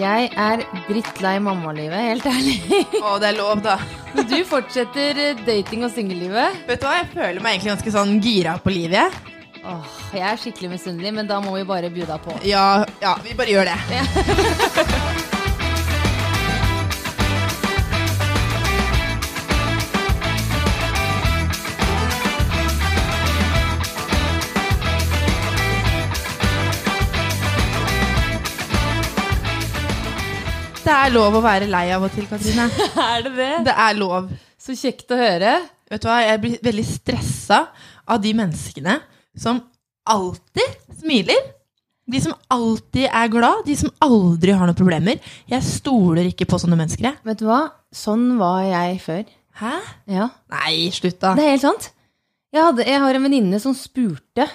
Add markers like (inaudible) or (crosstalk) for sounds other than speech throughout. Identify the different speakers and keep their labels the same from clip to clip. Speaker 1: Jeg er drittlei mammalivet, helt ærlig.
Speaker 2: Å, det er lov, da.
Speaker 1: Men (laughs) du fortsetter eh, dating- og singellivet.
Speaker 2: Vet du hva, jeg føler meg egentlig ganske sånn gira på livet, jeg.
Speaker 1: Åh, jeg er skikkelig misunnelig, men da må vi bare bjuda på.
Speaker 2: Ja, ja, vi bare gjør det. Det er lov å være lei av og til, Katrine.
Speaker 1: (laughs) Er det
Speaker 2: Det er lov.
Speaker 1: Så kjekt å høre.
Speaker 2: Vet du hva, jeg blir veldig stressa av de menneskene som alltid smiler. De som alltid er glad, de som aldri har noen problemer. Jeg stoler ikke på sånne mennesker. jeg.
Speaker 1: Vet du hva? Sånn var jeg før.
Speaker 2: Hæ?
Speaker 1: Ja.
Speaker 2: Nei, slutt, da.
Speaker 1: Det er helt sant. Jeg, hadde, jeg har en venninne som spurte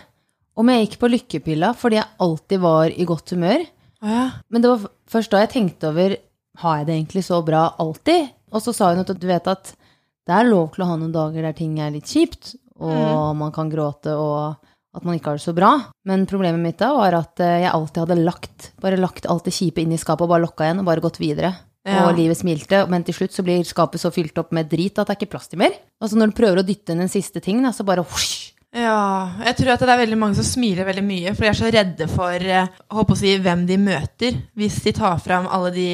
Speaker 1: om jeg gikk på lykkepilla fordi jeg alltid var i godt humør.
Speaker 2: Å ja.
Speaker 1: Men det var f- først da jeg tenkte over har jeg det egentlig så bra alltid? Og så sa hun at du vet at det er lov til å ha noen dager der ting er litt kjipt, og man kan gråte og at man ikke har det så bra. Men problemet mitt da var at eh, jeg alltid hadde lagt bare lagt alt det kjipe inn i skapet og bare lokka igjen og bare gått videre.
Speaker 2: Ja.
Speaker 1: Og livet smilte, men til slutt så blir skapet så fylt opp med drit at det er ikke plass til mer. Og så når du prøver å dytte inn en siste ting, da, så bare husk,
Speaker 2: ja. Jeg tror at det er veldig mange som smiler veldig mye, for de er så redde for eh, holdt på å si, hvem de møter, hvis de tar fram alle de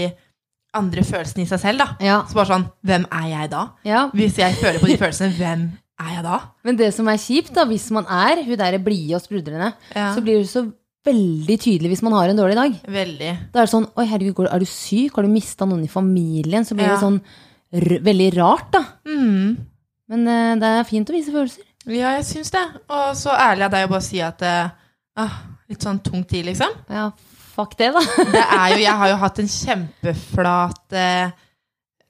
Speaker 2: andre følelsene i seg selv. da.
Speaker 1: Ja.
Speaker 2: Så bare sånn Hvem er jeg da?
Speaker 1: Ja,
Speaker 2: Hvis jeg føler på de følelsene, hvem er jeg da?
Speaker 1: Men det som er kjipt, da, hvis man er hun der blide og sprudlende,
Speaker 2: Ja.
Speaker 1: så blir det så veldig tydelig hvis man har en dårlig dag.
Speaker 2: Veldig.
Speaker 1: Da er det sånn Oi, herregud, går- er du syk? Har du mista noen i familien? Så blir
Speaker 2: Ja.
Speaker 1: det sånn r veldig rart, da.
Speaker 2: Mm.
Speaker 1: Men eh, det er fint å vise følelser.
Speaker 2: Ja, jeg syns det. Og så ærlig av deg å bare si at eh, ah, Litt sånn tung tid, liksom.
Speaker 1: Ja, fuck det, da.
Speaker 2: Det er jo, jeg har jo hatt en kjempeflat, eh,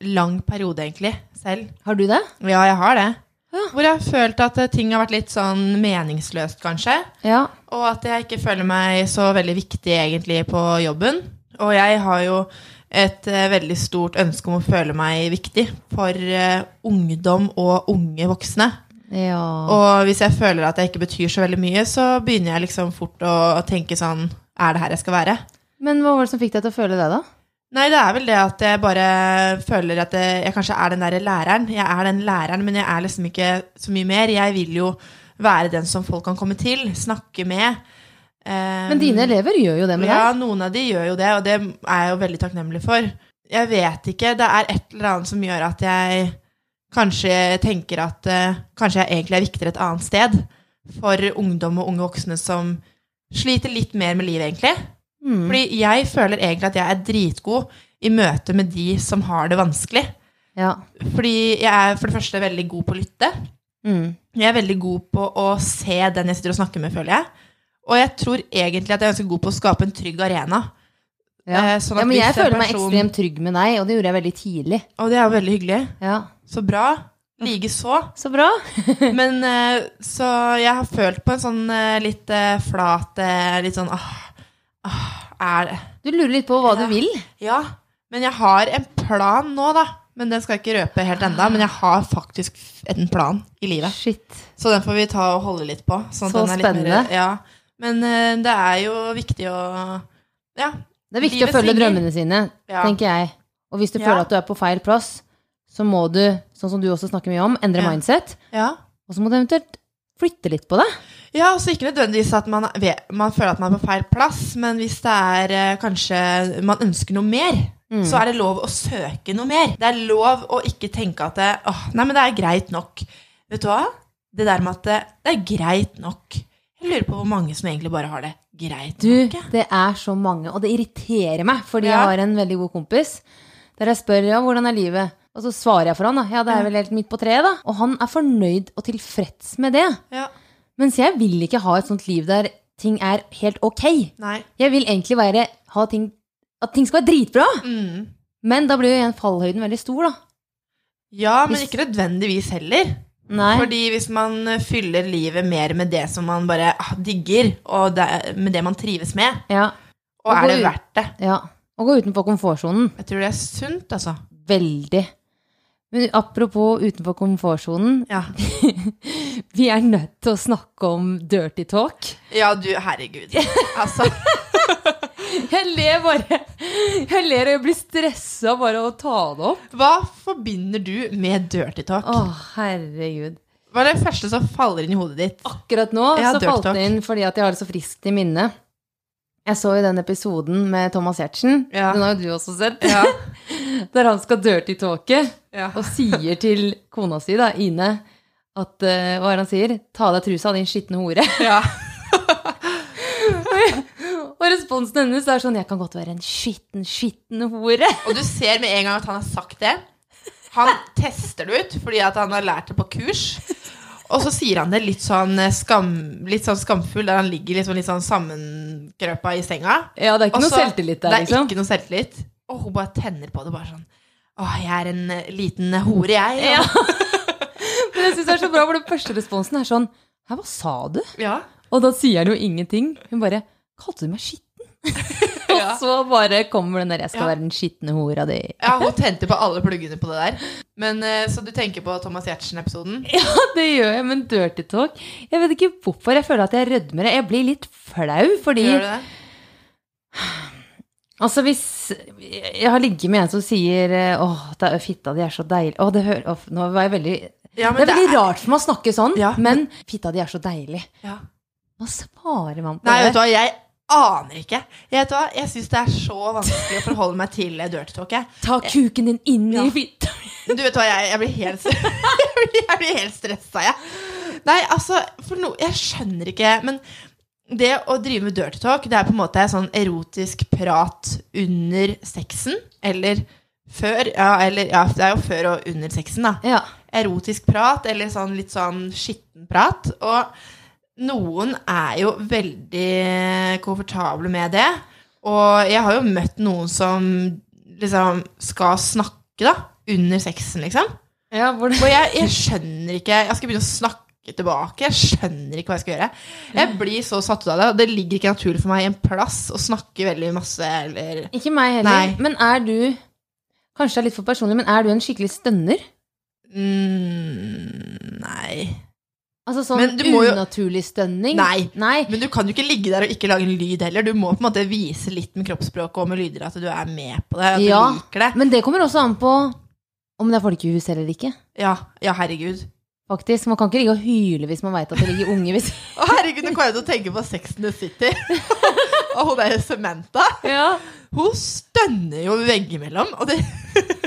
Speaker 2: lang periode, egentlig, selv.
Speaker 1: (laughs) Har du det?
Speaker 2: Ja, jeg har det.
Speaker 1: Ja.
Speaker 2: Hvor jeg har følt at eh, ting har vært litt sånn meningsløst, kanskje.
Speaker 1: Ja.
Speaker 2: Og at jeg ikke føler meg så veldig viktig, egentlig, på jobben. Og jeg har jo et eh, veldig stort ønske om å føle meg viktig for eh, ungdom og unge voksne.
Speaker 1: Ja.
Speaker 2: Og hvis jeg føler at jeg ikke betyr så veldig mye, så begynner jeg liksom fort å, å tenke sånn Er det her jeg skal være?
Speaker 1: Men hva var det som fikk deg til å føle det, da?
Speaker 2: Nei, det er vel det at jeg bare føler at jeg, jeg kanskje er den derre læreren. Jeg er den læreren, men jeg er liksom ikke så mye mer. Jeg vil jo være den som folk kan komme til, snakke med. Eh,
Speaker 1: Men dine elever gjør jo det med
Speaker 2: ja,
Speaker 1: deg.
Speaker 2: noen av de gjør jo det, og det er jeg jo veldig takknemlig for. Jeg vet ikke, det er et eller annet som gjør at jeg kanskje tenker at eh, kanskje jeg egentlig er viktigere et annet sted for ungdom og unge voksne som sliter litt mer med livet, egentlig.
Speaker 1: Mm.
Speaker 2: Fordi jeg føler egentlig at jeg er dritgod i møte med de som har det vanskelig.
Speaker 1: Ja.
Speaker 2: Fordi jeg er for det første veldig god på å lytte.
Speaker 1: Mm.
Speaker 2: Jeg er veldig god på å se den jeg sitter og snakker med, føler jeg. Og jeg tror egentlig at jeg er ganske god på å skape en trygg arena.
Speaker 1: Ja.
Speaker 2: Eh, sånn at
Speaker 1: ja, men
Speaker 2: hvis
Speaker 1: jeg
Speaker 2: en
Speaker 1: føler meg
Speaker 2: person-
Speaker 1: ekstremt trygg med deg, og det gjorde jeg veldig tidlig.
Speaker 2: Og det er jo veldig hyggelig.
Speaker 1: Ja.
Speaker 2: Så bra.
Speaker 1: (laughs)
Speaker 2: Likeså.
Speaker 1: Så bra.
Speaker 2: Men eh, så jeg har følt på en sånn eh, litt eh, flat eh, Litt sånn ah, ah, Er det
Speaker 1: Du lurer litt på hva du vil.
Speaker 2: Ja. Men jeg har en plan nå, da. Men den skal jeg ikke røpe helt enda Men jeg har faktisk en plan i livet.
Speaker 1: Shit.
Speaker 2: Så den får vi ta og holde litt på. sånn at
Speaker 1: Så
Speaker 2: den er litt mer-
Speaker 1: spennende.
Speaker 2: ja. Men eh, det er jo viktig å Ja.
Speaker 1: Det er viktig
Speaker 2: Livet
Speaker 1: å følge
Speaker 2: svinger.
Speaker 1: drømmene sine,
Speaker 2: Ja.
Speaker 1: tenker jeg. Og hvis du
Speaker 2: Ja.
Speaker 1: føler at du er på feil plass, så må du, sånn som du også snakker mye om, endre
Speaker 2: Ja.
Speaker 1: mindset.
Speaker 2: ja.
Speaker 1: Og så må du eventuelt flytte litt på det.
Speaker 2: Ja, også ikke nødvendigvis at man, er- man føler at man er på feil plass, men hvis det er eh, kanskje man ønsker noe mer,
Speaker 1: Mm.
Speaker 2: så er det lov å søke noe mer. Det er lov å ikke tenke at det, åh, nei, men det er greit nok. Vet du hva? Det der med at det, det er greit nok. Jeg lurer på hvor mange som egentlig bare har det greit
Speaker 1: Du,
Speaker 2: nok. jeg.
Speaker 1: det er så mange, og det irriterer meg, fordi
Speaker 2: Ja.
Speaker 1: jeg har en veldig god kompis. Der jeg spør ja, hvordan er livet? Og så svarer jeg for han da, ja, det er vel helt midt på treet, da. Og han er fornøyd og tilfreds med det.
Speaker 2: Ja,
Speaker 1: Mens jeg vil ikke ha et sånt liv der ting er helt ok.
Speaker 2: nei.
Speaker 1: Jeg vil egentlig være, ha ting, at ting skal være dritbra.
Speaker 2: Mm.
Speaker 1: Men da blir jo igjen fallhøyden veldig stor, da.
Speaker 2: Ja, men
Speaker 1: Hvis-
Speaker 2: ikke nødvendigvis heller.
Speaker 1: Nei.
Speaker 2: Fordi hvis man eh, fyller livet mer med det som man bare ah, digger, og det, med det man trives med,
Speaker 1: Ja,
Speaker 2: og
Speaker 1: Og
Speaker 2: er
Speaker 1: gå
Speaker 2: det
Speaker 1: ut.
Speaker 2: verdt det?
Speaker 1: ja. Å gå utenfor komfortsonen.
Speaker 2: Jeg tror det er sunt, altså.
Speaker 1: Veldig. Men apropos utenfor komfortsonen.
Speaker 2: Ja,
Speaker 1: Vi er nødt til å snakke om dirty talk. (laughs)
Speaker 2: du, herregud. Altså,
Speaker 1: Jeg ler bare. Jeg ler og jeg blir stressa bare av å ta det opp.
Speaker 2: Hva forbinder du med dirty talk?
Speaker 1: Å, herregud.
Speaker 2: Hva er det første som faller inn i hodet ditt?
Speaker 1: Akkurat nå
Speaker 2: Ja,
Speaker 1: så
Speaker 2: dirty
Speaker 1: falt
Speaker 2: talk.
Speaker 1: det inn fordi at jeg har det så friskt i minnet. Jeg så jo den episoden med Thomas Giertsen.
Speaker 2: Ja.
Speaker 1: Den har jo du også sett.
Speaker 2: Ja.
Speaker 1: Der han skal dirty talke
Speaker 2: Ja.
Speaker 1: og sier til kona si, da, Ine, at eh, Hva er det han sier? Ta av deg trusa, din skitne hore. (laughs)
Speaker 2: ja.
Speaker 1: Og responsen hennes er sånn Jeg kan godt være en skitten, skitten hore.
Speaker 2: Og du ser med en gang at han har sagt det. Han tester det ut fordi at han har lært det på kurs. Og så sier han det litt sånn, eh, skam, litt sånn skamfull, der han ligger liksom litt sånn sammenkrøpa i senga.
Speaker 1: Ja, det er ikke
Speaker 2: Og
Speaker 1: noe
Speaker 2: så-
Speaker 1: selvtillit der, liksom.
Speaker 2: Altså, Det er ikke noe selvtillit. Og hun bare tenner på det, bare sånn Åh, jeg er en eh, liten hore, jeg.
Speaker 1: (laughs) Ja. Men jeg syns det er så bra, for den første responsen er sånn Hæ, hva sa du?
Speaker 2: Ja.
Speaker 1: Og da sier han jo ingenting. Hun bare Kalte du meg skitten? Og
Speaker 2: Ja.
Speaker 1: så bare kommer den der Jeg skal
Speaker 2: Ja.
Speaker 1: være den skitne hora di.
Speaker 2: ja, hun tente på alle pluggene på det der. Men eh, Så du tenker på
Speaker 1: (laughs)
Speaker 2: Thomas Giertsen-episoden?
Speaker 1: Det gjør jeg, men dirty talk Jeg vet ikke hvorfor jeg føler at jeg rødmer. Jeg blir litt flau, fordi
Speaker 2: Gjør du det?
Speaker 1: Altså hvis Jeg har ligget med en som sier eh, Åh, det er fitta di er så deilig Åh, det hører åh, Nå var jeg veldig
Speaker 2: Ja,
Speaker 1: Det
Speaker 2: men
Speaker 1: er veldig rart for meg å snakke sånn,
Speaker 2: Ja,
Speaker 1: men fitta di er så deilig.
Speaker 2: Ja.
Speaker 1: Hva svarer man på
Speaker 2: Nei, vet
Speaker 1: det?
Speaker 2: du hva, jeg aner ikke. Jeg, vet du hva? jeg syns det er så vanskelig å forholde meg til eh, dirty talk. Jeg.
Speaker 1: Ta kuken din inn
Speaker 2: Ja.
Speaker 1: i
Speaker 2: (laughs)
Speaker 1: fitta
Speaker 2: Du vet hva, jeg, jeg blir helt, (laughs) jeg blir, jeg blir helt stressa, jeg. Nei, altså, for no, jeg skjønner ikke, men det å drive med dirty talk, det er på en måte sånn erotisk prat under sexen, eller før, ja, eller, ja, det er jo før og under sexen, da
Speaker 1: Ja.
Speaker 2: erotisk prat, eller sånn litt sånn skitten prat. Og noen er jo veldig komfortable med det. Og jeg har jo møtt noen som liksom skal snakke, da. Under sexen, liksom.
Speaker 1: ja hvor
Speaker 2: Og jeg, jeg skjønner ikke Jeg skal begynne å snakke tilbake. Jeg skjønner ikke hva jeg skal gjøre. Jeg blir så satt ut av det, og det ligger ikke naturlig for meg i en plass å snakke veldig masse, eller
Speaker 1: Ikke meg heller.
Speaker 2: Nei.
Speaker 1: Men er du Kanskje det er litt for personlig, men er du en skikkelig stønner?
Speaker 2: mm, Nei.
Speaker 1: Altså sånn
Speaker 2: Men du må jo-
Speaker 1: unaturlig stønning?
Speaker 2: Nei. Men du kan jo ikke ligge der og ikke lage en lyd heller. Du må på en måte vise litt med kroppsspråket og med lyder at du er med på det. At
Speaker 1: Ja.
Speaker 2: du liker det.
Speaker 1: Men det kommer også an på om det er folk i huset eller ikke.
Speaker 2: Ja, ja, herregud.
Speaker 1: Faktisk, Man kan ikke ligge og hyle hvis man veit at det ligger unge hvis
Speaker 2: (laughs) Å, herregud, nå kommer jeg til å tenke på Sex and the City. (laughs) og hun der Samantha.
Speaker 1: ja.
Speaker 2: Hun stønner jo veggimellom. Og det,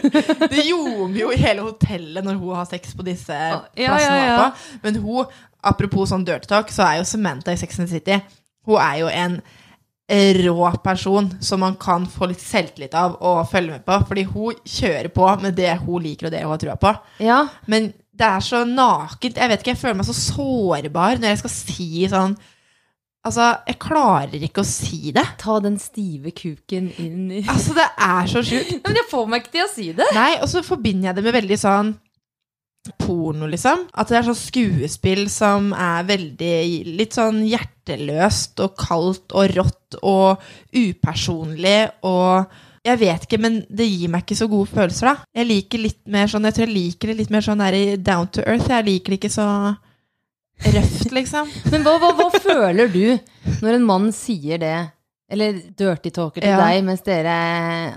Speaker 2: (laughs) det ljomer jo i hele hotellet når hun har sex på disse
Speaker 1: Ah, ja,
Speaker 2: plassene hun
Speaker 1: ja.
Speaker 2: er på. Men hun, apropos sånn dirty talk, så er jo Samantha i Sex and the City Hun er jo en eh, rå person som man kan få litt selvtillit av og følge med på. Fordi hun kjører på med det hun liker og det hun har trua på.
Speaker 1: ja.
Speaker 2: Men det er så nakent. Jeg vet ikke, jeg føler meg så sårbar når jeg skal si sånn Altså, jeg klarer ikke å si det.
Speaker 1: Ta den stive kuken inn i
Speaker 2: Altså, det er så sjukt.
Speaker 1: Ah, Men jeg får meg ikke til å si det.
Speaker 2: Nei, og så forbinder jeg det med veldig sånn porno, liksom. At det er sånn skuespill som er veldig litt sånn hjerteløst og kaldt og rått og upersonlig og jeg vet ikke, men det gir meg ikke så gode følelser, da. Jeg liker litt mer sånn, jeg tror jeg liker det litt mer sånn der i down to earth. Jeg liker det ikke så røft, liksom.
Speaker 1: Men hva, hva, hva føler du når en mann sier det, eller dirty talker til
Speaker 2: Ja.
Speaker 1: deg mens dere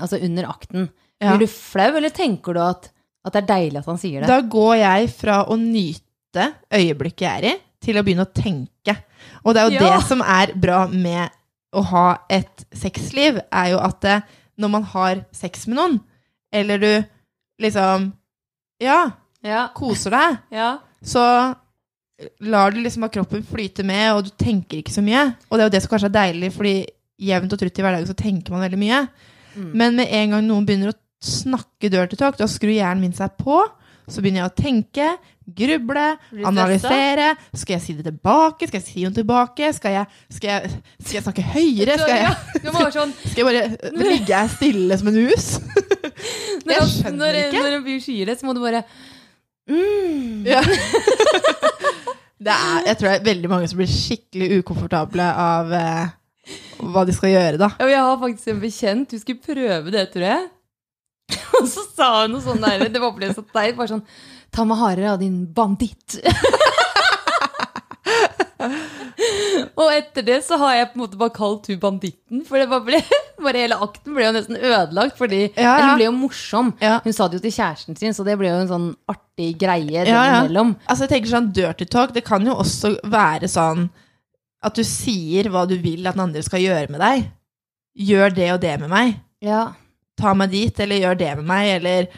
Speaker 1: Altså under akten.
Speaker 2: Ja.
Speaker 1: Blir du flau, eller tenker du at, at det er deilig at han sier det?
Speaker 2: Da går jeg fra å nyte øyeblikket jeg er i, til å begynne å tenke. Og det er jo
Speaker 1: Ja.
Speaker 2: det som er bra med å ha et sexliv, er jo at eh, når man har sex med noen, eller du liksom Ja,
Speaker 1: Ja,
Speaker 2: koser deg,
Speaker 1: ja.
Speaker 2: så lar du liksom bare kroppen flyte med, og du tenker ikke så mye. Og det er jo det som kanskje er deilig, fordi jevnt og trutt i hverdagen så tenker man veldig mye.
Speaker 1: Mm.
Speaker 2: Men med en gang noen begynner å snakke dirty talk, da skrur hjernen min seg på. Så begynner jeg å tenke, gruble,
Speaker 1: Blir du
Speaker 2: analysere. Skal jeg si det tilbake? Skal jeg si noe tilbake? Skal jeg, skal jeg, skal jeg snakke høyere? Skal jeg,
Speaker 1: du må være sånn
Speaker 2: skal jeg bare Ligger jeg stille som en hus?
Speaker 1: (laughs) Når,
Speaker 2: (laughs)
Speaker 1: han-
Speaker 2: Jeg
Speaker 1: når,
Speaker 2: skjønner ikke.
Speaker 1: når en fyr sier det, så må du bare mm.
Speaker 2: Ja. Det er, jeg tror det er veldig mange som blir skikkelig ukomfortable av eh, hva de skal gjøre, da.
Speaker 1: Ja, og Jeg har faktisk en bekjent. Hun skulle prøve det, tror jeg. (laughs) Og så sa hun noe sånn der, det var bare så teit. Bare sånn Ta meg hardere av, din banditt. (laughs) Og etter det så har jeg på en måte bare kalt hun banditten, for det bare ble (laughs) bare hele akten ble jo nesten ødelagt, fordi
Speaker 2: Ja, ja.
Speaker 1: Eller hun ble jo morsom.
Speaker 2: Ja.
Speaker 1: Hun sa det jo til kjæresten sin, så det ble jo en sånn artig greie
Speaker 2: Ja, ja.
Speaker 1: innimellom.
Speaker 2: Altså, jeg tenker sånn dirty talk, det kan jo også være sånn at du sier hva du vil at den andre skal gjøre med deg. Gjør det og det med meg.
Speaker 1: Ja.
Speaker 2: Ta meg dit, eller gjør det med meg, eller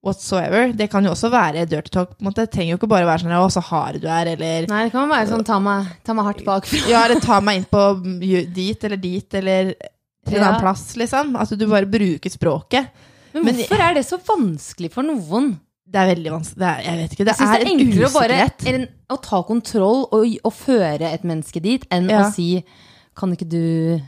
Speaker 2: whatsoever. Det kan jo også være dirty talk. på en måte. Det trenger jo ikke bare være sånn å, så hard du er, eller
Speaker 1: Nei, det kan være sånn ta meg, ta meg hardt bakfra.
Speaker 2: ja, eller ta meg inn på mm, dit eller dit, eller til en
Speaker 1: Ja.
Speaker 2: annen plass, liksom. At du bare bruker språket.
Speaker 1: Men
Speaker 2: Men-
Speaker 1: hvorfor er det så vanskelig for noen?
Speaker 2: Det er veldig vanskelig. Det er, jeg vet ikke,
Speaker 1: Jeg
Speaker 2: det
Speaker 1: synes
Speaker 2: er,
Speaker 1: det er
Speaker 2: en
Speaker 1: enklere å bare
Speaker 2: usikkerhet.
Speaker 1: enn å ta kontroll og, og føre et menneske dit, enn
Speaker 2: Ja.
Speaker 1: å si Kan ikke du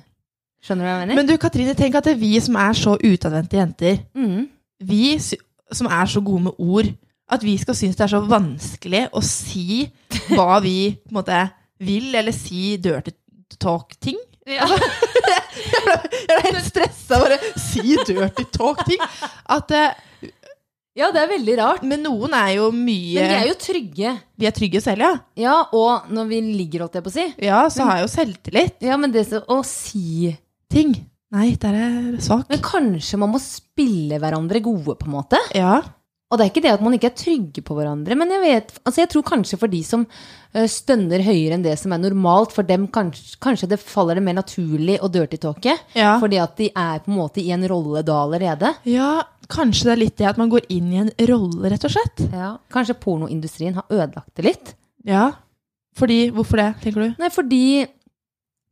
Speaker 1: Skjønner du hva jeg mener?
Speaker 2: Men du, Katrine, tenk at det er vi som er så utadvendte jenter,
Speaker 1: mm.
Speaker 2: vi sy- som er så gode med ord, at vi skal synes det er så vanskelig å si hva
Speaker 1: (laughs)
Speaker 2: vi på en måte, vil, eller si dirty
Speaker 1: (laughs)
Speaker 2: talk-ting. Jeg ble, jeg ble helt stressa bare si dirty talk-ting. At eh,
Speaker 1: Ja, det er veldig rart.
Speaker 2: Men noen er jo mye
Speaker 1: Men vi er jo trygge.
Speaker 2: Vi er trygge selv, ja.
Speaker 1: Ja, og når vi ligger, holdt jeg på å si.
Speaker 2: Ja,
Speaker 1: Mm.
Speaker 2: så har jeg jo selvtillit.
Speaker 1: Ja, men det så- å si
Speaker 2: Ting. Nei, der er jeg svak.
Speaker 1: Men kanskje man må spille hverandre gode, på en måte?
Speaker 2: Ja.
Speaker 1: Og det er ikke det at man ikke er trygge på hverandre, men jeg vet Altså, jeg tror kanskje for de som eh, stønner høyere enn det som er normalt, for dem kanskje, kanskje det faller det mer naturlig å dirty-talke.
Speaker 2: Ja.
Speaker 1: Fordi at de er på en måte i en rolle da allerede.
Speaker 2: ja, kanskje det er litt det at man går inn i en rolle, rett og slett.
Speaker 1: Kanskje pornoindustrien har ødelagt det litt?
Speaker 2: Ja. Fordi Hvorfor det, tenker du?
Speaker 1: Nei, fordi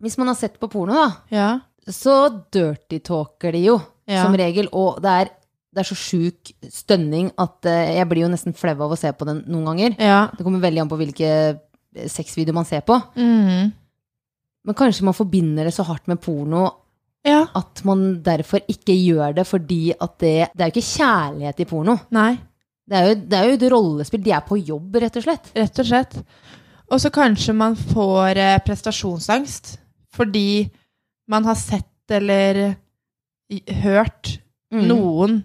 Speaker 1: hvis man har sett på porno, da,
Speaker 2: Ja.
Speaker 1: så dirty-talker de jo
Speaker 2: Ja.
Speaker 1: som regel. Og det er, det er så sjuk stønning at eh, jeg blir jo nesten flau av å se på den noen ganger.
Speaker 2: Ja.
Speaker 1: Det kommer veldig an på hvilke eh, sexvideoer man ser på.
Speaker 2: Mm.
Speaker 1: Men kanskje man forbinder det så hardt med porno
Speaker 2: Ja.
Speaker 1: at man derfor ikke gjør det fordi at det Det er jo ikke kjærlighet i porno.
Speaker 2: Nei.
Speaker 1: Det er jo, det er jo et rollespill. De er på jobb, rett og slett.
Speaker 2: Rett og slett. Og så kanskje man får eh, prestasjonsangst fordi man har sett eller i- hørt
Speaker 1: Mm.
Speaker 2: noen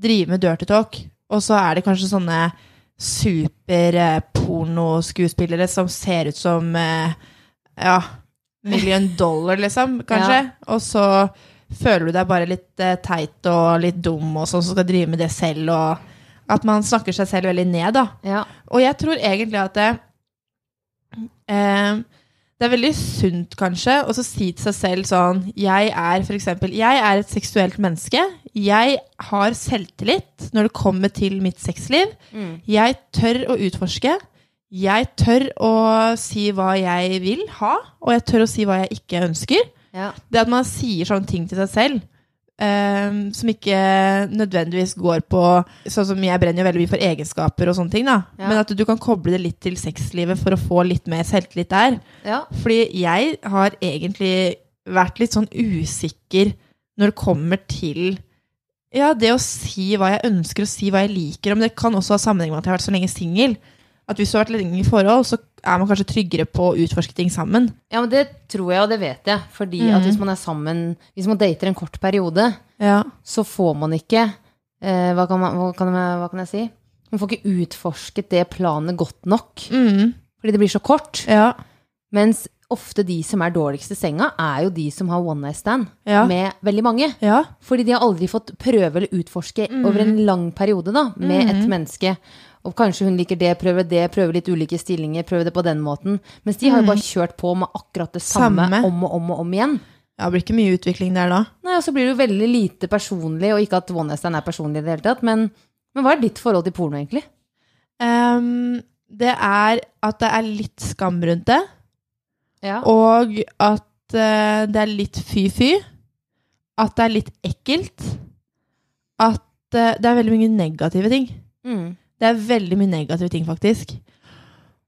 Speaker 2: driver med dirty talk, og så er det kanskje sånne superpornoskuespillere som ser ut som eh, ja, million dollar, liksom, kanskje. Og så føler du deg bare litt eh, teit og litt dum og sånn som skal drive med det selv, og at man snakker seg selv veldig ned, da.
Speaker 1: Ja.
Speaker 2: Og jeg tror egentlig at det, eh, det er veldig sunt, kanskje, å så si til seg selv sånn Jeg er for eksempel, jeg er et seksuelt menneske. Jeg har selvtillit når det kommer til mitt sexliv.
Speaker 1: Mm.
Speaker 2: Jeg tør å utforske. Jeg tør å si hva jeg vil ha, og jeg tør å si hva jeg ikke ønsker.
Speaker 1: ja.
Speaker 2: Det at man sier sånne ting til seg selv, ehm, som ikke nødvendigvis går på Sånn som jeg brenner jo veldig mye for egenskaper og sånne ting, da.
Speaker 1: Ja.
Speaker 2: Men at du kan koble det litt til sexlivet for å få litt mer selvtillit der.
Speaker 1: Ja.
Speaker 2: Fordi jeg har egentlig vært litt sånn usikker når det kommer til ja, det å si hva jeg ønsker, og si hva jeg liker. Men det kan også ha sammenheng med at jeg har vært så lenge singel. At hvis du har vært lenge i forhold, så er man kanskje tryggere på å utforske ting sammen.
Speaker 1: ja, men det tror jeg, og det vet jeg. Fordi at hvis man er sammen Hvis man dater en kort periode,
Speaker 2: Ja.
Speaker 1: så får man ikke eh, hva, kan man, hva, kan jeg, hva kan jeg si? Man får ikke utforsket det planet godt nok.
Speaker 2: Mm.
Speaker 1: Fordi det blir så kort.
Speaker 2: Ja.
Speaker 1: Mens ofte de som er dårligst i senga, er jo de som har one night stand
Speaker 2: Ja.
Speaker 1: med veldig mange.
Speaker 2: Ja.
Speaker 1: Fordi de har aldri fått prøve eller utforske over en lang periode da, med et menneske. Og kanskje hun liker det, prøver det, prøver litt ulike stillinger, prøver det på den måten. Mens de har jo bare kjørt på med akkurat det Mm. samme,
Speaker 2: Samme.
Speaker 1: om og om og om igjen.
Speaker 2: Ja, det blir ikke mye utvikling der da.
Speaker 1: Nei, og så blir det jo veldig lite personlig, og ikke at one night stand er personlig i det hele tatt, men, men hva er ditt forhold til porno egentlig?
Speaker 2: Ehm, det er at det er litt skam rundt det,
Speaker 1: Ja.
Speaker 2: og at eh, det er litt fy-fy. At det er litt ekkelt. At eh, det er veldig mye negative ting.
Speaker 1: Mm.
Speaker 2: Det er veldig mye negative ting, faktisk.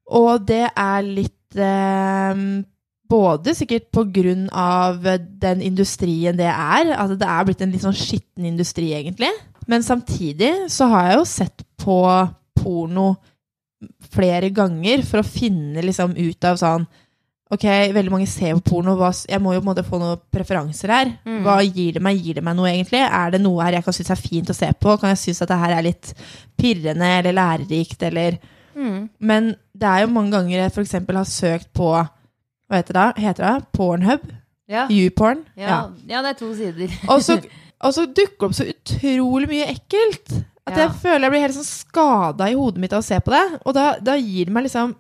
Speaker 2: Og det er litt ehm, både sikkert på grunn av den industrien det er, at det er blitt en litt sånn skitten industri, egentlig. Men samtidig så har jeg jo sett på porno flere ganger for å finne liksom ut av sånn Ok, veldig mange ser på porno. Hva, s- jeg må jo på en måte få noen preferanser her.
Speaker 1: Mm.
Speaker 2: Hva gir det meg? Gir det meg noe, egentlig? Er det noe her jeg kan synes er fint å se på? Kan jeg synes at det her er litt pirrende eller lærerikt, eller
Speaker 1: Mm.
Speaker 2: men det er jo mange ganger jeg f.eks. har søkt på hva heter det? Heter det? Pornhub?
Speaker 1: Ja.
Speaker 2: YouPorn?
Speaker 1: Ja. ja, det er to sider.
Speaker 2: Og så, og så dukker det opp så utrolig mye ekkelt. At
Speaker 1: Ja.
Speaker 2: jeg føler jeg blir helt sånn skada i hodet mitt av å se på det. Og da, da gir det meg liksom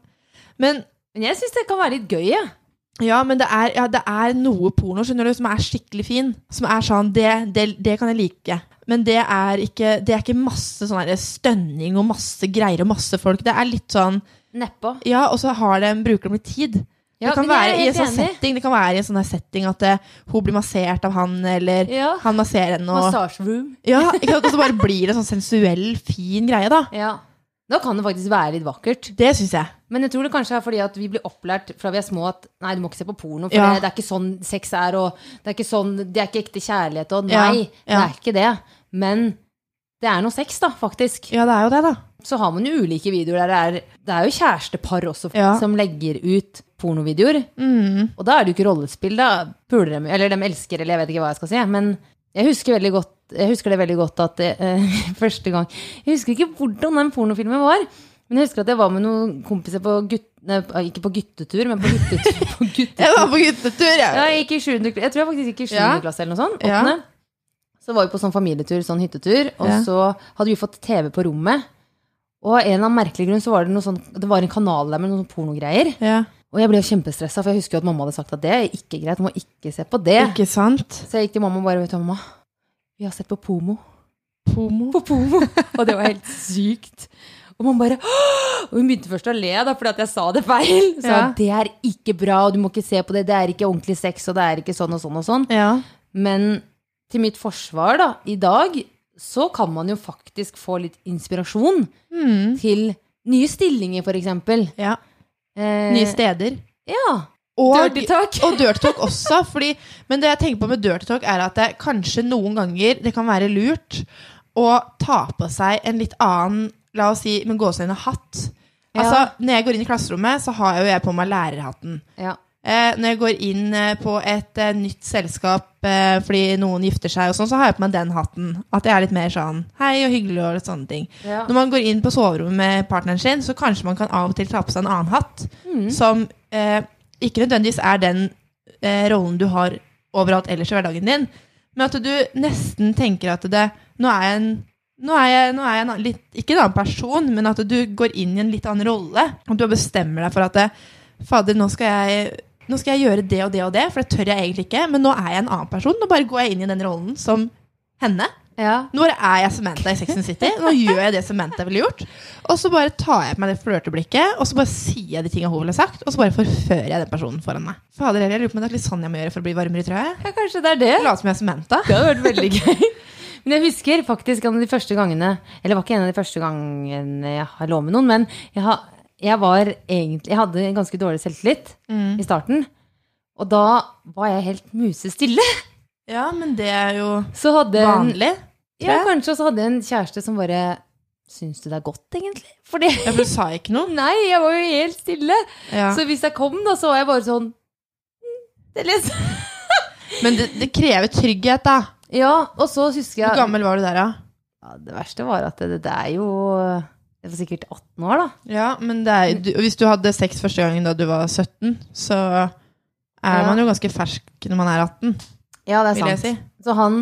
Speaker 2: Men
Speaker 1: Men jeg syns det kan være litt gøy, jeg.
Speaker 2: ja, men det er, ja, det er noe porno skjønner du, som er skikkelig fin. Som er sånn Det, det, det kan jeg like. Men det er ikke, det er ikke masse sånn her stønning og masse greier og masse folk. Det er litt sånn
Speaker 1: Nedpå.
Speaker 2: Ja, og så har de, bruker de litt tid.
Speaker 1: Ja,
Speaker 2: det, kan
Speaker 1: men jeg er
Speaker 2: være i en
Speaker 1: helt
Speaker 2: sånn
Speaker 1: enig.
Speaker 2: setting, det kan være i en sånn her setting at eh, hun blir massert av han, eller
Speaker 1: Ja.
Speaker 2: han masserer henne. Og,
Speaker 1: Massasjeroom.
Speaker 2: ja, ikke sant? og så bare blir det en sånn sensuell, fin greie, da.
Speaker 1: Ja. Da kan det faktisk være litt vakkert.
Speaker 2: Det syns jeg.
Speaker 1: Men jeg tror det kanskje er fordi at vi blir opplært fra vi er små at nei, du må ikke se på porno, for
Speaker 2: Ja.
Speaker 1: det, det er ikke sånn sex er, og det er ikke, sånn, det er ikke ekte kjærlighet, og
Speaker 2: Ja,
Speaker 1: nei, det
Speaker 2: ja.
Speaker 1: er ikke det. Men det er noe sex, da, faktisk.
Speaker 2: Ja, det er jo det, da.
Speaker 1: Så har man jo ulike videoer der det er Det er jo kjærestepar også
Speaker 2: Ja.
Speaker 1: som legger ut pornovideoer.
Speaker 2: Mm.
Speaker 1: Og da er det jo ikke rollespill, da. Puler dem, eller dem elsker, eller jeg vet ikke hva jeg skal si. Men jeg husker, veldig godt, jeg husker det veldig godt at eh, (laughs) første gang Jeg husker ikke hvordan den pornofilmen var. Men jeg husker at jeg var med noen kompiser på gutt... Nei, ikke på guttetur, men på guttetur.
Speaker 2: (laughs)
Speaker 1: På guttetur.
Speaker 2: Jeg var på guttetur, jeg.
Speaker 1: Ja, jeg gikk i 7. klasse. Jeg tror jeg faktisk gikk i 7.
Speaker 2: Ja.
Speaker 1: klasse eller noe sånt.
Speaker 2: Ja.
Speaker 1: Åttende. Så var vi på sånn familietur, sånn hyttetur, og
Speaker 2: Ja.
Speaker 1: så hadde vi fått TV på rommet. Og av en eller annen merkelig grunn så var det noe sånn Det var en kanal der med noen sånne pornogreier.
Speaker 2: Ja.
Speaker 1: Og jeg ble jo kjempestressa, for jeg husker jo at mamma hadde sagt at det er ikke greit, du må ikke se på det.
Speaker 2: Ikke sant?
Speaker 1: Så jeg gikk til mamma og bare, vet du hva, mamma, vi har sett på Pomo.
Speaker 2: Homo.
Speaker 1: På Pomo! Og det var helt sykt. Og man bare «Åh!» Og hun begynte først å le, da, fordi at jeg sa det feil. Så
Speaker 2: Ja.
Speaker 1: det er ikke bra, og du må ikke se på det, det er ikke ordentlig sex, og det er ikke sånn og sånn og sånn.
Speaker 2: Ja.
Speaker 1: Men til mitt forsvar, da, i dag, så kan man jo faktisk få litt inspirasjon
Speaker 2: Mm.
Speaker 1: til nye stillinger, for eksempel.
Speaker 2: ja.
Speaker 1: Eh,
Speaker 2: Nye steder.
Speaker 1: Ja.
Speaker 2: Og,
Speaker 1: Dirty talk.
Speaker 2: og dirty talk også. Fordi, men det jeg tenker på med dirty talk, er at det kanskje noen ganger det kan være lurt å ta på seg en litt annen, la oss si, med gåseøyne hatt. Altså,
Speaker 1: Ja.
Speaker 2: Når jeg går inn i klasserommet, så har jo jeg på meg lærerhatten.
Speaker 1: Ja.
Speaker 2: Eh, når jeg går inn eh, på et eh, nytt selskap eh, fordi noen gifter seg, og sånn, så har jeg på meg den hatten. At jeg er litt mer sånn hei og hyggelig og litt sånne ting.
Speaker 1: Ja.
Speaker 2: Når man går inn på soverommet med partneren sin, så kanskje man kan av og til ta på seg en annen hatt. Som eh, ikke nødvendigvis er den eh, rollen du har overalt ellers i hverdagen din. Men at du nesten tenker at det Nå er jeg en nå er jeg, nå er jeg en, annen- litt, ikke en annen person, men at du går inn i en litt annen rolle. Og du bestemmer deg for at det, Fader, nå skal, jeg, nå skal jeg gjøre det og det og det, for det tør jeg egentlig ikke. Men nå er jeg en annen person. Nå bare går jeg inn i den rollen som henne.
Speaker 1: ja.
Speaker 2: Nå bare er jeg Samantha i Sex and the City. Nå gjør jeg det Samantha ville gjort. Og så bare tar jeg på meg det flørteblikket, og så bare sier jeg de tinga hun ville sagt, og så bare forfører jeg den personen foran meg. Fader heller, jeg lurer på om det er litt sånn jeg må gjøre for å bli varmere i trøya.
Speaker 1: ja, kanskje det er det.
Speaker 2: Late som jeg er Samantha.
Speaker 1: Det hadde vært veldig
Speaker 2: (laughs)
Speaker 1: gøy. Men jeg husker faktisk en av de første gangene Eller det var ikke en av de første gangene jeg har lå med noen, men jeg, ha, jeg var egentlig Jeg hadde en ganske dårlig selvtillit
Speaker 2: Mm.
Speaker 1: i starten. Og da var jeg helt musestille.
Speaker 2: Ja, men det er jo
Speaker 1: Så hadde en,
Speaker 2: vanlig.
Speaker 1: ja,
Speaker 2: jeg.
Speaker 1: kanskje også hadde jeg en kjæreste som bare Syns du det er godt, egentlig? Fordi (laughs)
Speaker 2: Ja, for du sa ikke noe.
Speaker 1: Nei, jeg var jo helt stille.
Speaker 2: Ja.
Speaker 1: Så hvis jeg kom, da, så var jeg bare sånn «Mm, Det leser
Speaker 2: Men det, det krever trygghet, da.
Speaker 1: (laughs) Ja, og så husker
Speaker 2: Hvor
Speaker 1: jeg
Speaker 2: gammel var du der, da?
Speaker 1: ja, Det verste var at det, det er jo Jeg var sikkert 18 år, da.
Speaker 2: Ja, men det er, du, hvis du hadde sex første gangen da du var 17, så er
Speaker 1: Ja.
Speaker 2: man jo ganske fersk når man er 18,
Speaker 1: Ja, det er
Speaker 2: vil jeg
Speaker 1: sant.
Speaker 2: si.
Speaker 1: Så han,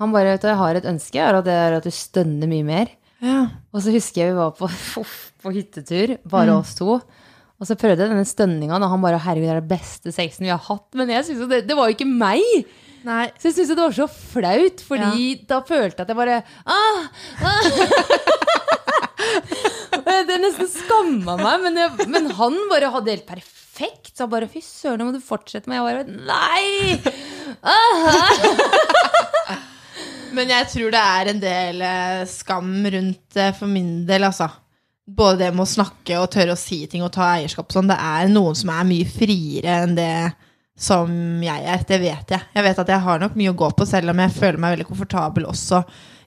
Speaker 1: han bare vet du, jeg har et ønske, er at, det er at du stønner mye mer.
Speaker 2: Ja.
Speaker 1: Og så husker jeg vi var på, (laughs) uff, på hyttetur, bare
Speaker 2: Mm.
Speaker 1: oss to. Og så prøvde jeg denne stønninga, og han bare 'herregud, det er den beste sexen vi har hatt'. Men jeg synes jo det, det var jo ikke meg!
Speaker 2: Nei,
Speaker 1: Så jeg syntes jo det var så flaut, fordi da følte jeg at jeg bare ah, ah. (laughs) Det nesten skamma meg, men, jeg, men han bare hadde helt perfekt. Så han bare 'fy søren, nå må du fortsette med'. Jeg bare 'nei'! Ah.
Speaker 2: Men jeg tror det er en del eh, skam rundt det for min del, altså. Både det med å snakke og tørre å si ting og ta eierskap og sånn. Det er noen som er mye friere enn det som jeg er. Det vet jeg. Jeg vet at jeg har nok mye å gå på, selv om jeg føler meg veldig komfortabel også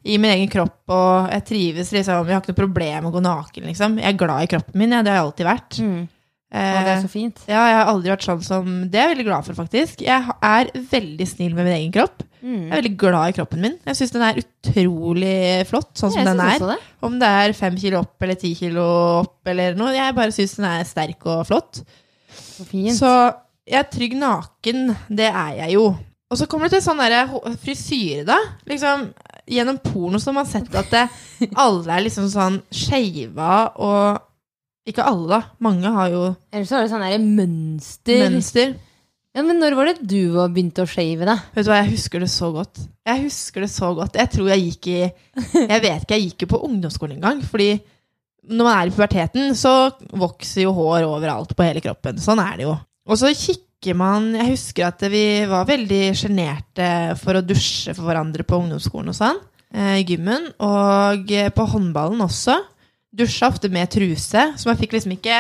Speaker 2: i min egen kropp. Og jeg trives liksom. Jeg har ikke noe problem med å gå naken, liksom. Jeg er glad i kroppen min, jeg. Det har jeg alltid vært.
Speaker 1: Og det
Speaker 2: Eh,
Speaker 1: er så fint.
Speaker 2: ja, jeg har aldri vært sånn som Det er jeg veldig glad for, faktisk. Jeg ha- er veldig snill med min egen kropp.
Speaker 1: Mm.
Speaker 2: Jeg er veldig glad i kroppen min. Jeg syns den er utrolig flott sånn som
Speaker 1: Jeg
Speaker 2: den
Speaker 1: synes
Speaker 2: er.
Speaker 1: også det.
Speaker 2: Om det er fem kilo opp eller ti kilo opp eller noe. Jeg bare syns den er sterk og flott.
Speaker 1: Så fint.
Speaker 2: Så Jeg er trygg naken, det er jeg jo. Og så kommer det til sånn derre hå- frisyre, da. Liksom, gjennom porno så har man sett at det,
Speaker 1: (laughs)
Speaker 2: alle er liksom sånn skeiva og Ikke alle, da. Mange har jo
Speaker 1: Ellers så har du sånn der mønster.
Speaker 2: mønster.
Speaker 1: Ja, men når var det du var begynt å shave deg?
Speaker 2: Vet du hva, jeg husker det så godt. Jeg husker det så godt. Jeg tror jeg gikk i Jeg vet ikke, jeg gikk jo på ungdomsskolen engang. Fordi når man er i puberteten, så vokser jo hår overalt på hele kroppen. Sånn er det jo. Og så kikker man Jeg husker at vi var veldig sjenerte for å dusje for hverandre på ungdomsskolen og sånn. eh, I gymmen. Og eh, på håndballen også. Dusja ofte med truse, så man fikk liksom ikke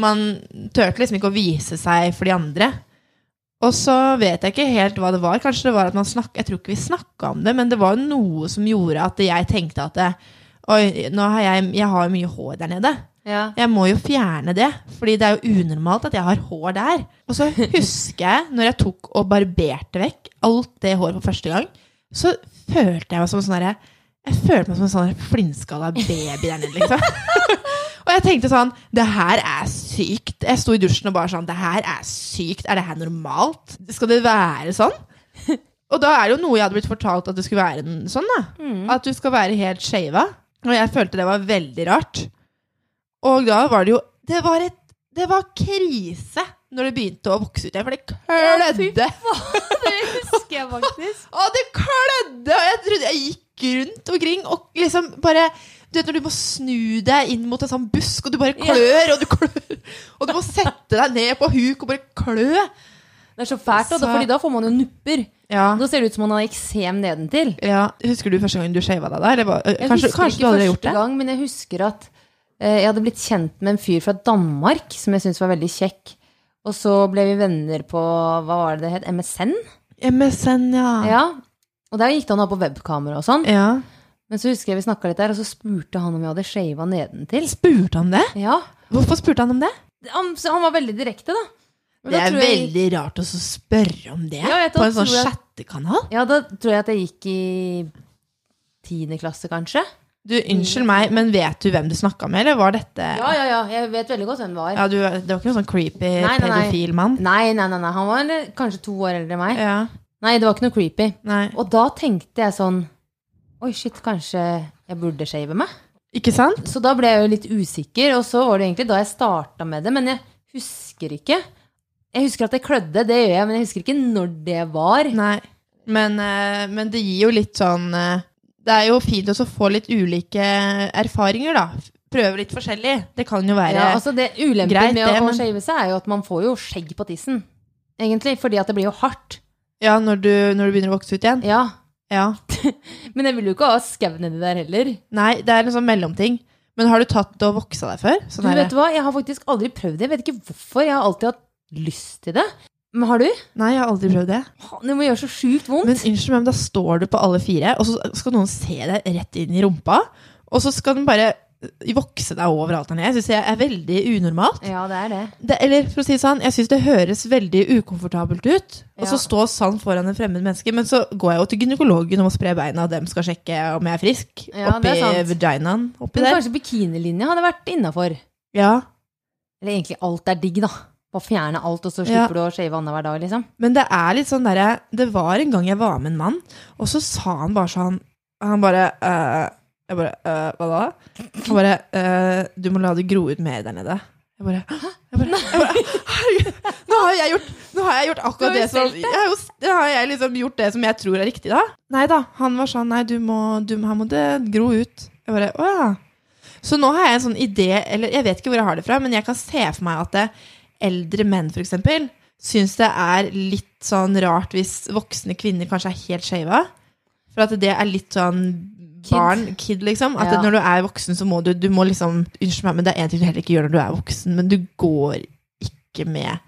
Speaker 2: Man turte liksom ikke å vise seg for de andre. Og så vet jeg ikke helt hva det var. Kanskje det var at man snakk, Jeg tror ikke vi snakka om det, men det var jo noe som gjorde at jeg tenkte at det, Oi, nå har jeg, jeg har jo mye hår der nede.
Speaker 1: (laughs) Ja.
Speaker 2: Jeg må jo fjerne det, fordi det er jo unormalt at jeg har hår der. Og så husker jeg, når jeg tok og barberte vekk alt det håret for første gang, så følte jeg meg som en sånn derre- Jeg følte meg som en sånn flinskalla baby der nede, liksom. og jeg tenkte sånn Det her er sykt. Jeg sto i dusjen og bare sånn Det her er sykt. Er det her normalt? Skal det være sånn? Og da er det jo noe jeg hadde blitt fortalt at det skulle være en- sånn, da.
Speaker 1: Mm.
Speaker 2: At du skal være helt shava. Og jeg følte det var veldig rart. Og da var det jo Det var, et, det var krise når det begynte å vokse ut igjen, for det klødde.
Speaker 1: Det husker jeg faktisk.
Speaker 2: Å, det klødde! Og jeg trodde jeg gikk rundt omkring og liksom bare Du vet når du må snu deg inn mot en sånn busk, og du bare klør, og du klør, og du må sette deg ned på huk og bare klø.
Speaker 1: Det er så fælt, da,
Speaker 2: Så-
Speaker 1: fordi da får man jo nupper.
Speaker 2: Ja.
Speaker 1: Da ser det ut som man har eksem nedentil.
Speaker 2: ja. Husker du første gang du shava deg da? Eller hva?
Speaker 1: Jeg
Speaker 2: kanskje
Speaker 1: husker
Speaker 2: kanskje du
Speaker 1: ikke
Speaker 2: aldri
Speaker 1: første
Speaker 2: har gjort det?
Speaker 1: gang, men jeg husker at eh, jeg hadde blitt kjent med en fyr fra Danmark som jeg syntes var veldig kjekk. Og så ble vi venner på hva var det det het, MSN?
Speaker 2: MSN, ja.
Speaker 1: Ja. Og der gikk det an å ha på webkamera og sånn.
Speaker 2: ja.
Speaker 1: Men så husker jeg vi snakka litt der, og så spurte han om jeg hadde shava nedentil.
Speaker 2: Spurte han det?
Speaker 1: Ja.
Speaker 2: Hvorfor spurte han om det?
Speaker 1: Han, så han var veldig direkte, da. Men
Speaker 2: Det
Speaker 1: da
Speaker 2: er
Speaker 1: tror jeg-
Speaker 2: veldig rart å så spørre om det
Speaker 1: Ja, jeg
Speaker 2: på en
Speaker 1: tror
Speaker 2: sånn
Speaker 1: jeg-
Speaker 2: chattekanal.
Speaker 1: Ja, da tror jeg at jeg gikk i tiende klasse, kanskje.
Speaker 2: Du, Unnskyld meg, men vet du hvem du snakka med, eller var dette
Speaker 1: Ja, ja, ja. Jeg vet veldig godt hvem det var.
Speaker 2: Ja, du, Det var ikke noen sånn creepy
Speaker 1: Nei, nei, nei.
Speaker 2: pedofil mann?
Speaker 1: Nei, nei, nei, nei. Han var eh, kanskje to år eldre enn meg.
Speaker 2: Ja,
Speaker 1: Nei, det var ikke noe creepy.
Speaker 2: nei.
Speaker 1: Og da tenkte jeg sånn Oi, shit, kanskje jeg burde shave meg?
Speaker 2: Ikke sant?
Speaker 1: Så da ble jeg jo litt usikker, og så var det egentlig da jeg starta med det. Men jeg husker ikke. Jeg husker at jeg klødde, det gjør jeg, men jeg husker ikke når det var.
Speaker 2: Nei. Men, eh, men det gir jo litt sånn eh, Det er jo fint også å få litt ulike erfaringer, da. Prøve litt forskjellig. Det kan jo være
Speaker 1: Ja, altså det Ulempen
Speaker 2: Eh, greit,
Speaker 1: med
Speaker 2: det,
Speaker 1: å, å
Speaker 2: men-
Speaker 1: shave seg er jo at man får jo skjegg på tissen. Egentlig, fordi at det blir jo hardt.
Speaker 2: Ja, når du, når du begynner å vokse ut igjen.
Speaker 1: Ja.
Speaker 2: Ja.
Speaker 1: Men jeg vil jo ikke ha skau nedi der heller.
Speaker 2: Nei, det er en sånn mellomting. Men har du tatt og voksa deg før?
Speaker 1: Du
Speaker 2: Sånn her-
Speaker 1: vet hva, jeg har faktisk aldri prøvd det. Jeg vet ikke hvorfor. Jeg har alltid hatt lyst til det. Men har du?
Speaker 2: Nei, jeg har aldri prøvd det.
Speaker 1: Faen, Det må gjøre så sjukt vondt.
Speaker 2: Men unnskyld meg, men da står du på alle fire, og så skal noen se deg rett inn i rumpa, og så skal den bare vokse deg overalt der nede. Jeg syns det er veldig unormalt.
Speaker 1: Ja, det er det.
Speaker 2: Det, eller for å si det sånn, jeg syns det høres veldig ukomfortabelt ut. Og
Speaker 1: Ja.
Speaker 2: så stå sånn foran en fremmed menneske, men så går jeg jo til gynekologen og må spre beina, og dem skal sjekke om jeg er frisk.
Speaker 1: Ja,
Speaker 2: oppi
Speaker 1: det er sant.
Speaker 2: vaginaen. Oppi
Speaker 1: Men
Speaker 2: der.
Speaker 1: kanskje bikinilinja hadde vært innafor.
Speaker 2: Ja.
Speaker 1: Eller egentlig alt er digg, da. Bare fjerne alt, og så
Speaker 2: Ja.
Speaker 1: slipper du å shave annenhver dag, liksom.
Speaker 2: Men det er litt sånn derre Det var en gang jeg var med en mann, og så sa han bare sånn Han bare «Øh», Jeg bare «Øh, Hva da? Han bare «Øh, Du må la det gro ut mer der nede. Jeg bare, «Hæ?» jeg bare, jeg bare Herregud, nå har jeg gjort, nå har jeg gjort
Speaker 1: Du har
Speaker 2: akkurat
Speaker 1: jo
Speaker 2: det som
Speaker 1: stelt det.
Speaker 2: jeg har, jo, s- da har jeg liksom gjort det som jeg tror er riktig, da. Nei da. Han var sånn Nei, du må, du, her må det gro ut. Jeg bare Å ja. Så nå har jeg en sånn idé, eller jeg vet ikke hvor jeg har det fra, men jeg kan se for meg at det, eldre menn for eksempel, syns det er litt sånn rart hvis voksne kvinner kanskje er helt skeiva. For at det er litt sånn barn, kid, liksom. At
Speaker 1: Ja.
Speaker 2: når du er voksen, så må du, du må liksom Unnskyld meg, men det er én ting du heller ikke gjør når du er voksen, men du går ikke med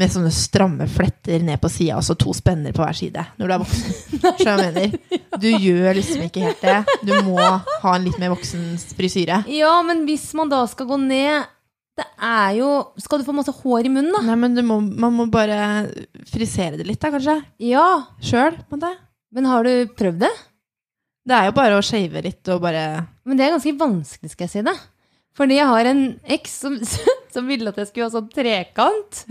Speaker 2: med sånne stramme fletter ned på sida og så to spenner på hver side når du er voksen. Skjønner du hva jeg mener? Du gjør liksom ikke helt det. Du må ha en litt mer voksen frisyre.
Speaker 1: Ja, men hvis man da skal gå ned Det er jo Skal du få masse hår i munnen, da?
Speaker 2: Nei, men du må, man må bare frisere det litt, da, kanskje.
Speaker 1: Ja.
Speaker 2: Sjøl, på en måte.
Speaker 1: Men har du prøvd det?
Speaker 2: Det er jo bare å shave litt og bare
Speaker 1: Men det er ganske vanskelig, skal jeg si det. (laughs) Fordi jeg har en eks som, som ville at jeg skulle ha sånn trekant.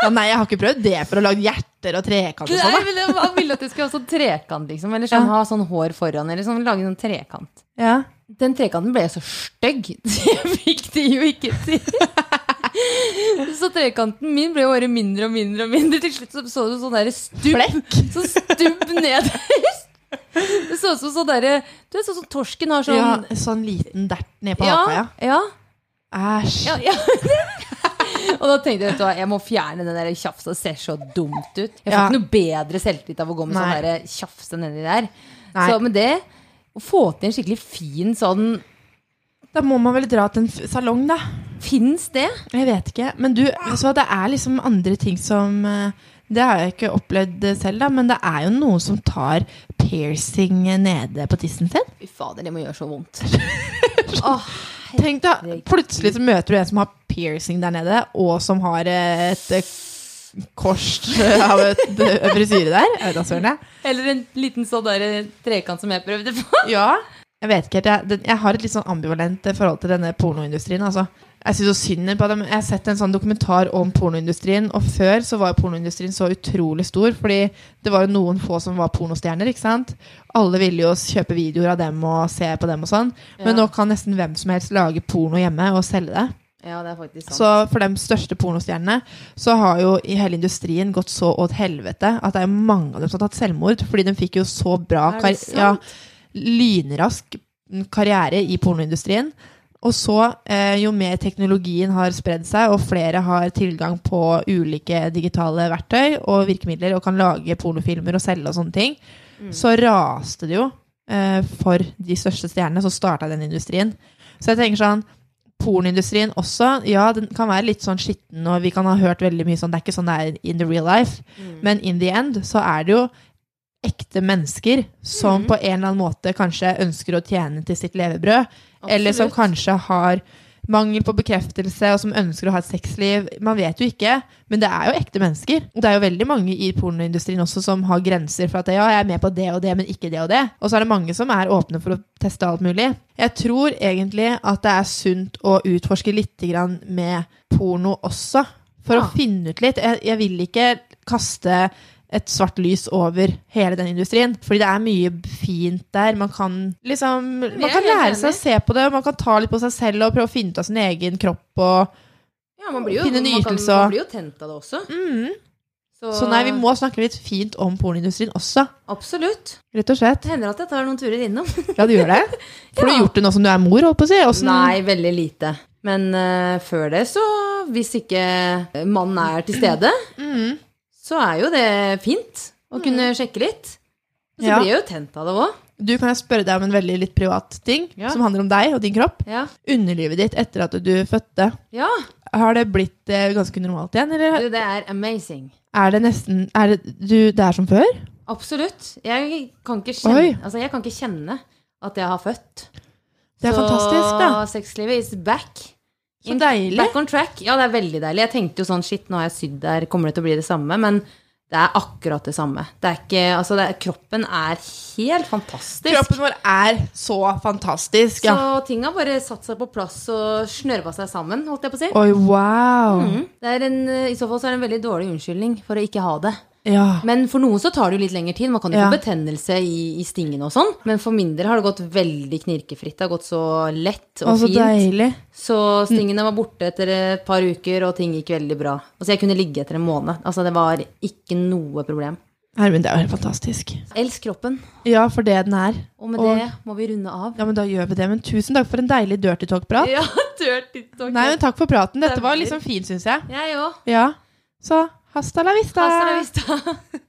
Speaker 2: Ja, nei, jeg har ikke prøvd det for å lage hjerter og trekant og
Speaker 1: Nei,
Speaker 2: sånn. da.
Speaker 1: men det- Han ville at det skulle ha sånn trekant, liksom. Eller sånn, ha sånn hår foran, eller sånn, lage sånn trekant.
Speaker 2: Ja.
Speaker 1: Den trekanten ble så stygg. (laughs) Jeg fikk det jo ikke til. (laughs) Så trekanten min ble jo bare mindre og mindre og mindre. Til slutt så, så du sånn derre stubb.
Speaker 2: Flekk.
Speaker 1: Sånn stubb nederst. (laughs) Det så ut som sånn derre Du vet sånn som torsken har sånn
Speaker 2: Ja, sånn liten dert ned på haka,
Speaker 1: ja, ja.
Speaker 2: ja. Æsj.
Speaker 1: Ja, (laughs) ja. og da tenkte jeg vet du hva, jeg må fjerne den der tjafsa, det ser så dumt ut. Jeg får
Speaker 2: Ja.
Speaker 1: ikke noe bedre selvtillit av å gå med sånn
Speaker 2: Nei.
Speaker 1: der tjafse nedi der.
Speaker 2: Nei.
Speaker 1: Så med det, å få til en skikkelig fin sånn
Speaker 2: Da må man vel dra til en f- salong, da.
Speaker 1: Fins det?
Speaker 2: Jeg vet ikke. Men du, vet du hva, det er liksom andre ting som eh, Det har jeg ikke opplevd selv, da, men det er jo noen som tar piercing nede på tissen sin.
Speaker 1: Fy fader, det må gjøre så vondt.
Speaker 2: Tenk da, Plutselig så møter du en som har piercing der nede, og som har eh, et eh, kors av et eh, frisyre der. Jeg vet da søren, jeg.
Speaker 1: Eller en liten sånn der trekant som jeg prøvde på.
Speaker 2: Ja. Jeg vet ikke helt. Jeg, den- jeg har et litt sånn ambivalent eh, forhold til denne pornoindustrien. altså. Jeg synes så synd på dem. Jeg har sett en sånn dokumentar om pornoindustrien, og før så var pornoindustrien så utrolig stor, fordi det var jo noen få som var pornostjerner, ikke sant? Alle ville jo kjøpe videoer av dem og se på dem og sånn, men
Speaker 1: Ja.
Speaker 2: nå kan nesten hvem som helst lage porno hjemme og selge det.
Speaker 1: Ja, det er faktisk sant.
Speaker 2: Så for de største pornostjernene så har jo i hele industrien gått så åt helvete at det er mange av dem som har tatt selvmord, fordi de fikk jo så bra
Speaker 1: Er
Speaker 2: kar
Speaker 1: det sant?
Speaker 2: ja, lynrask karriere i pornoindustrien. Og så, eh, jo mer teknologien har spredd seg, og flere har tilgang på ulike digitale verktøy og virkemidler og kan lage pornofilmer og selge og sånne ting, så raste det jo eh, for de største stjernene. Så starta den industrien. Så jeg tenker sånn Pornoindustrien også, ja, den kan være litt sånn skitten, og vi kan ha hørt veldig mye sånn Det er ikke sånn det er in the real life, men in the end så er det jo ekte mennesker som på en eller annen måte kanskje ønsker å tjene til sitt levebrød, eller som
Speaker 1: Absolutt.
Speaker 2: kanskje har mangel på bekreftelse, og som ønsker å ha et sexliv. Man vet jo ikke, men det er jo ekte mennesker. Og det er jo veldig mange i pornoindustrien også som har grenser for at ja, jeg er med på det og det, men ikke det og det. Og så er det mange som er åpne for å teste alt mulig. Jeg tror egentlig at det er sunt å utforske litt grann med porno også, for
Speaker 1: Ja.
Speaker 2: å finne ut litt. Jeg, jeg vil ikke kaste et svart lys over hele den industrien. Fordi det er mye fint der. Man kan liksom Man
Speaker 1: er
Speaker 2: kan
Speaker 1: helt
Speaker 2: lære seg å
Speaker 1: enig.
Speaker 2: se på det, og man kan ta litt på seg selv og prøve å finne ut av sin egen kropp og
Speaker 1: ja, man blir jo,
Speaker 2: finne
Speaker 1: man kan-
Speaker 2: nytelse
Speaker 1: Man
Speaker 2: og-
Speaker 1: blir jo tent av det også.
Speaker 2: Så nei, vi må snakke litt fint om pornoindustrien også.
Speaker 1: Absolutt.
Speaker 2: Rett og slett.
Speaker 1: Det hender at jeg tar noen turer innom.
Speaker 2: Ja, du gjør
Speaker 1: (laughs)
Speaker 2: det? For du
Speaker 1: Ja.
Speaker 2: har gjort det nå som du er mor, holdt på å si. Åssen-
Speaker 1: Nei, veldig lite. Men eh, før det, så hvis ikke mannen er til stede,
Speaker 2: Mm.
Speaker 1: så er jo det fint å kunne sjekke litt. Og så
Speaker 2: Ja.
Speaker 1: blir jeg jo tent av det òg.
Speaker 2: Du kan jeg spørre deg om en veldig litt privat ting
Speaker 1: Ja.
Speaker 2: som handler om deg og din kropp.
Speaker 1: Ja.
Speaker 2: Underlivet ditt etter at du fødte,
Speaker 1: ja,
Speaker 2: har det blitt eh, ganske normalt igjen? Eller
Speaker 1: du, det er amazing.
Speaker 2: er det nesten er det, du, det er som før?
Speaker 1: Absolutt. Jeg kan ikke kjenne,
Speaker 2: Oi.
Speaker 1: altså, jeg kan ikke kjenne at jeg har født.
Speaker 2: Det er
Speaker 1: så
Speaker 2: fantastisk, da.
Speaker 1: sexlivet is back.
Speaker 2: Så deilig.
Speaker 1: Back on track. Ja, det er veldig deilig. Jeg tenkte jo sånn, shit, nå har jeg sydd der, kommer det til å bli det samme? Men det er akkurat det samme. Det er ikke, altså det er, kroppen er helt fantastisk.
Speaker 2: Kroppen vår er så fantastisk,
Speaker 1: Så
Speaker 2: ja.
Speaker 1: ting har bare satt seg på plass og snørva seg sammen, holdt jeg på å si.
Speaker 2: Oi, wow.
Speaker 1: Mm. Det er en, I så fall så er det en veldig dårlig unnskyldning for å ikke ha det.
Speaker 2: Ja.
Speaker 1: Men for noen så tar det jo litt lengre tid. Man kan jo
Speaker 2: Ja.
Speaker 1: få betennelse i, i stingene og sånn. Men for min del har det gått veldig knirkefritt. Det har gått så lett og
Speaker 2: Å, så
Speaker 1: fint.
Speaker 2: deilig.
Speaker 1: Så stingene var borte etter et par uker, og ting gikk veldig bra. Altså, jeg kunne ligge etter en måned. Altså, det var ikke noe problem.
Speaker 2: Hermen, det er jo helt fantastisk.
Speaker 1: Elsk kroppen,
Speaker 2: Ja, for det den er.
Speaker 1: og med
Speaker 2: Og-
Speaker 1: det må vi runde av.
Speaker 2: Ja, men da gjør vi det. Men tusen takk for en deilig dirty
Speaker 1: (laughs)
Speaker 2: talk-prat.
Speaker 1: Ja, dirty talk.
Speaker 2: Nei, men takk for praten. Dette var
Speaker 1: Stemmer.
Speaker 2: liksom fint, syns jeg.
Speaker 1: Jeg òg.
Speaker 2: Ja. Så hasta la vista.
Speaker 1: Hasta la vista.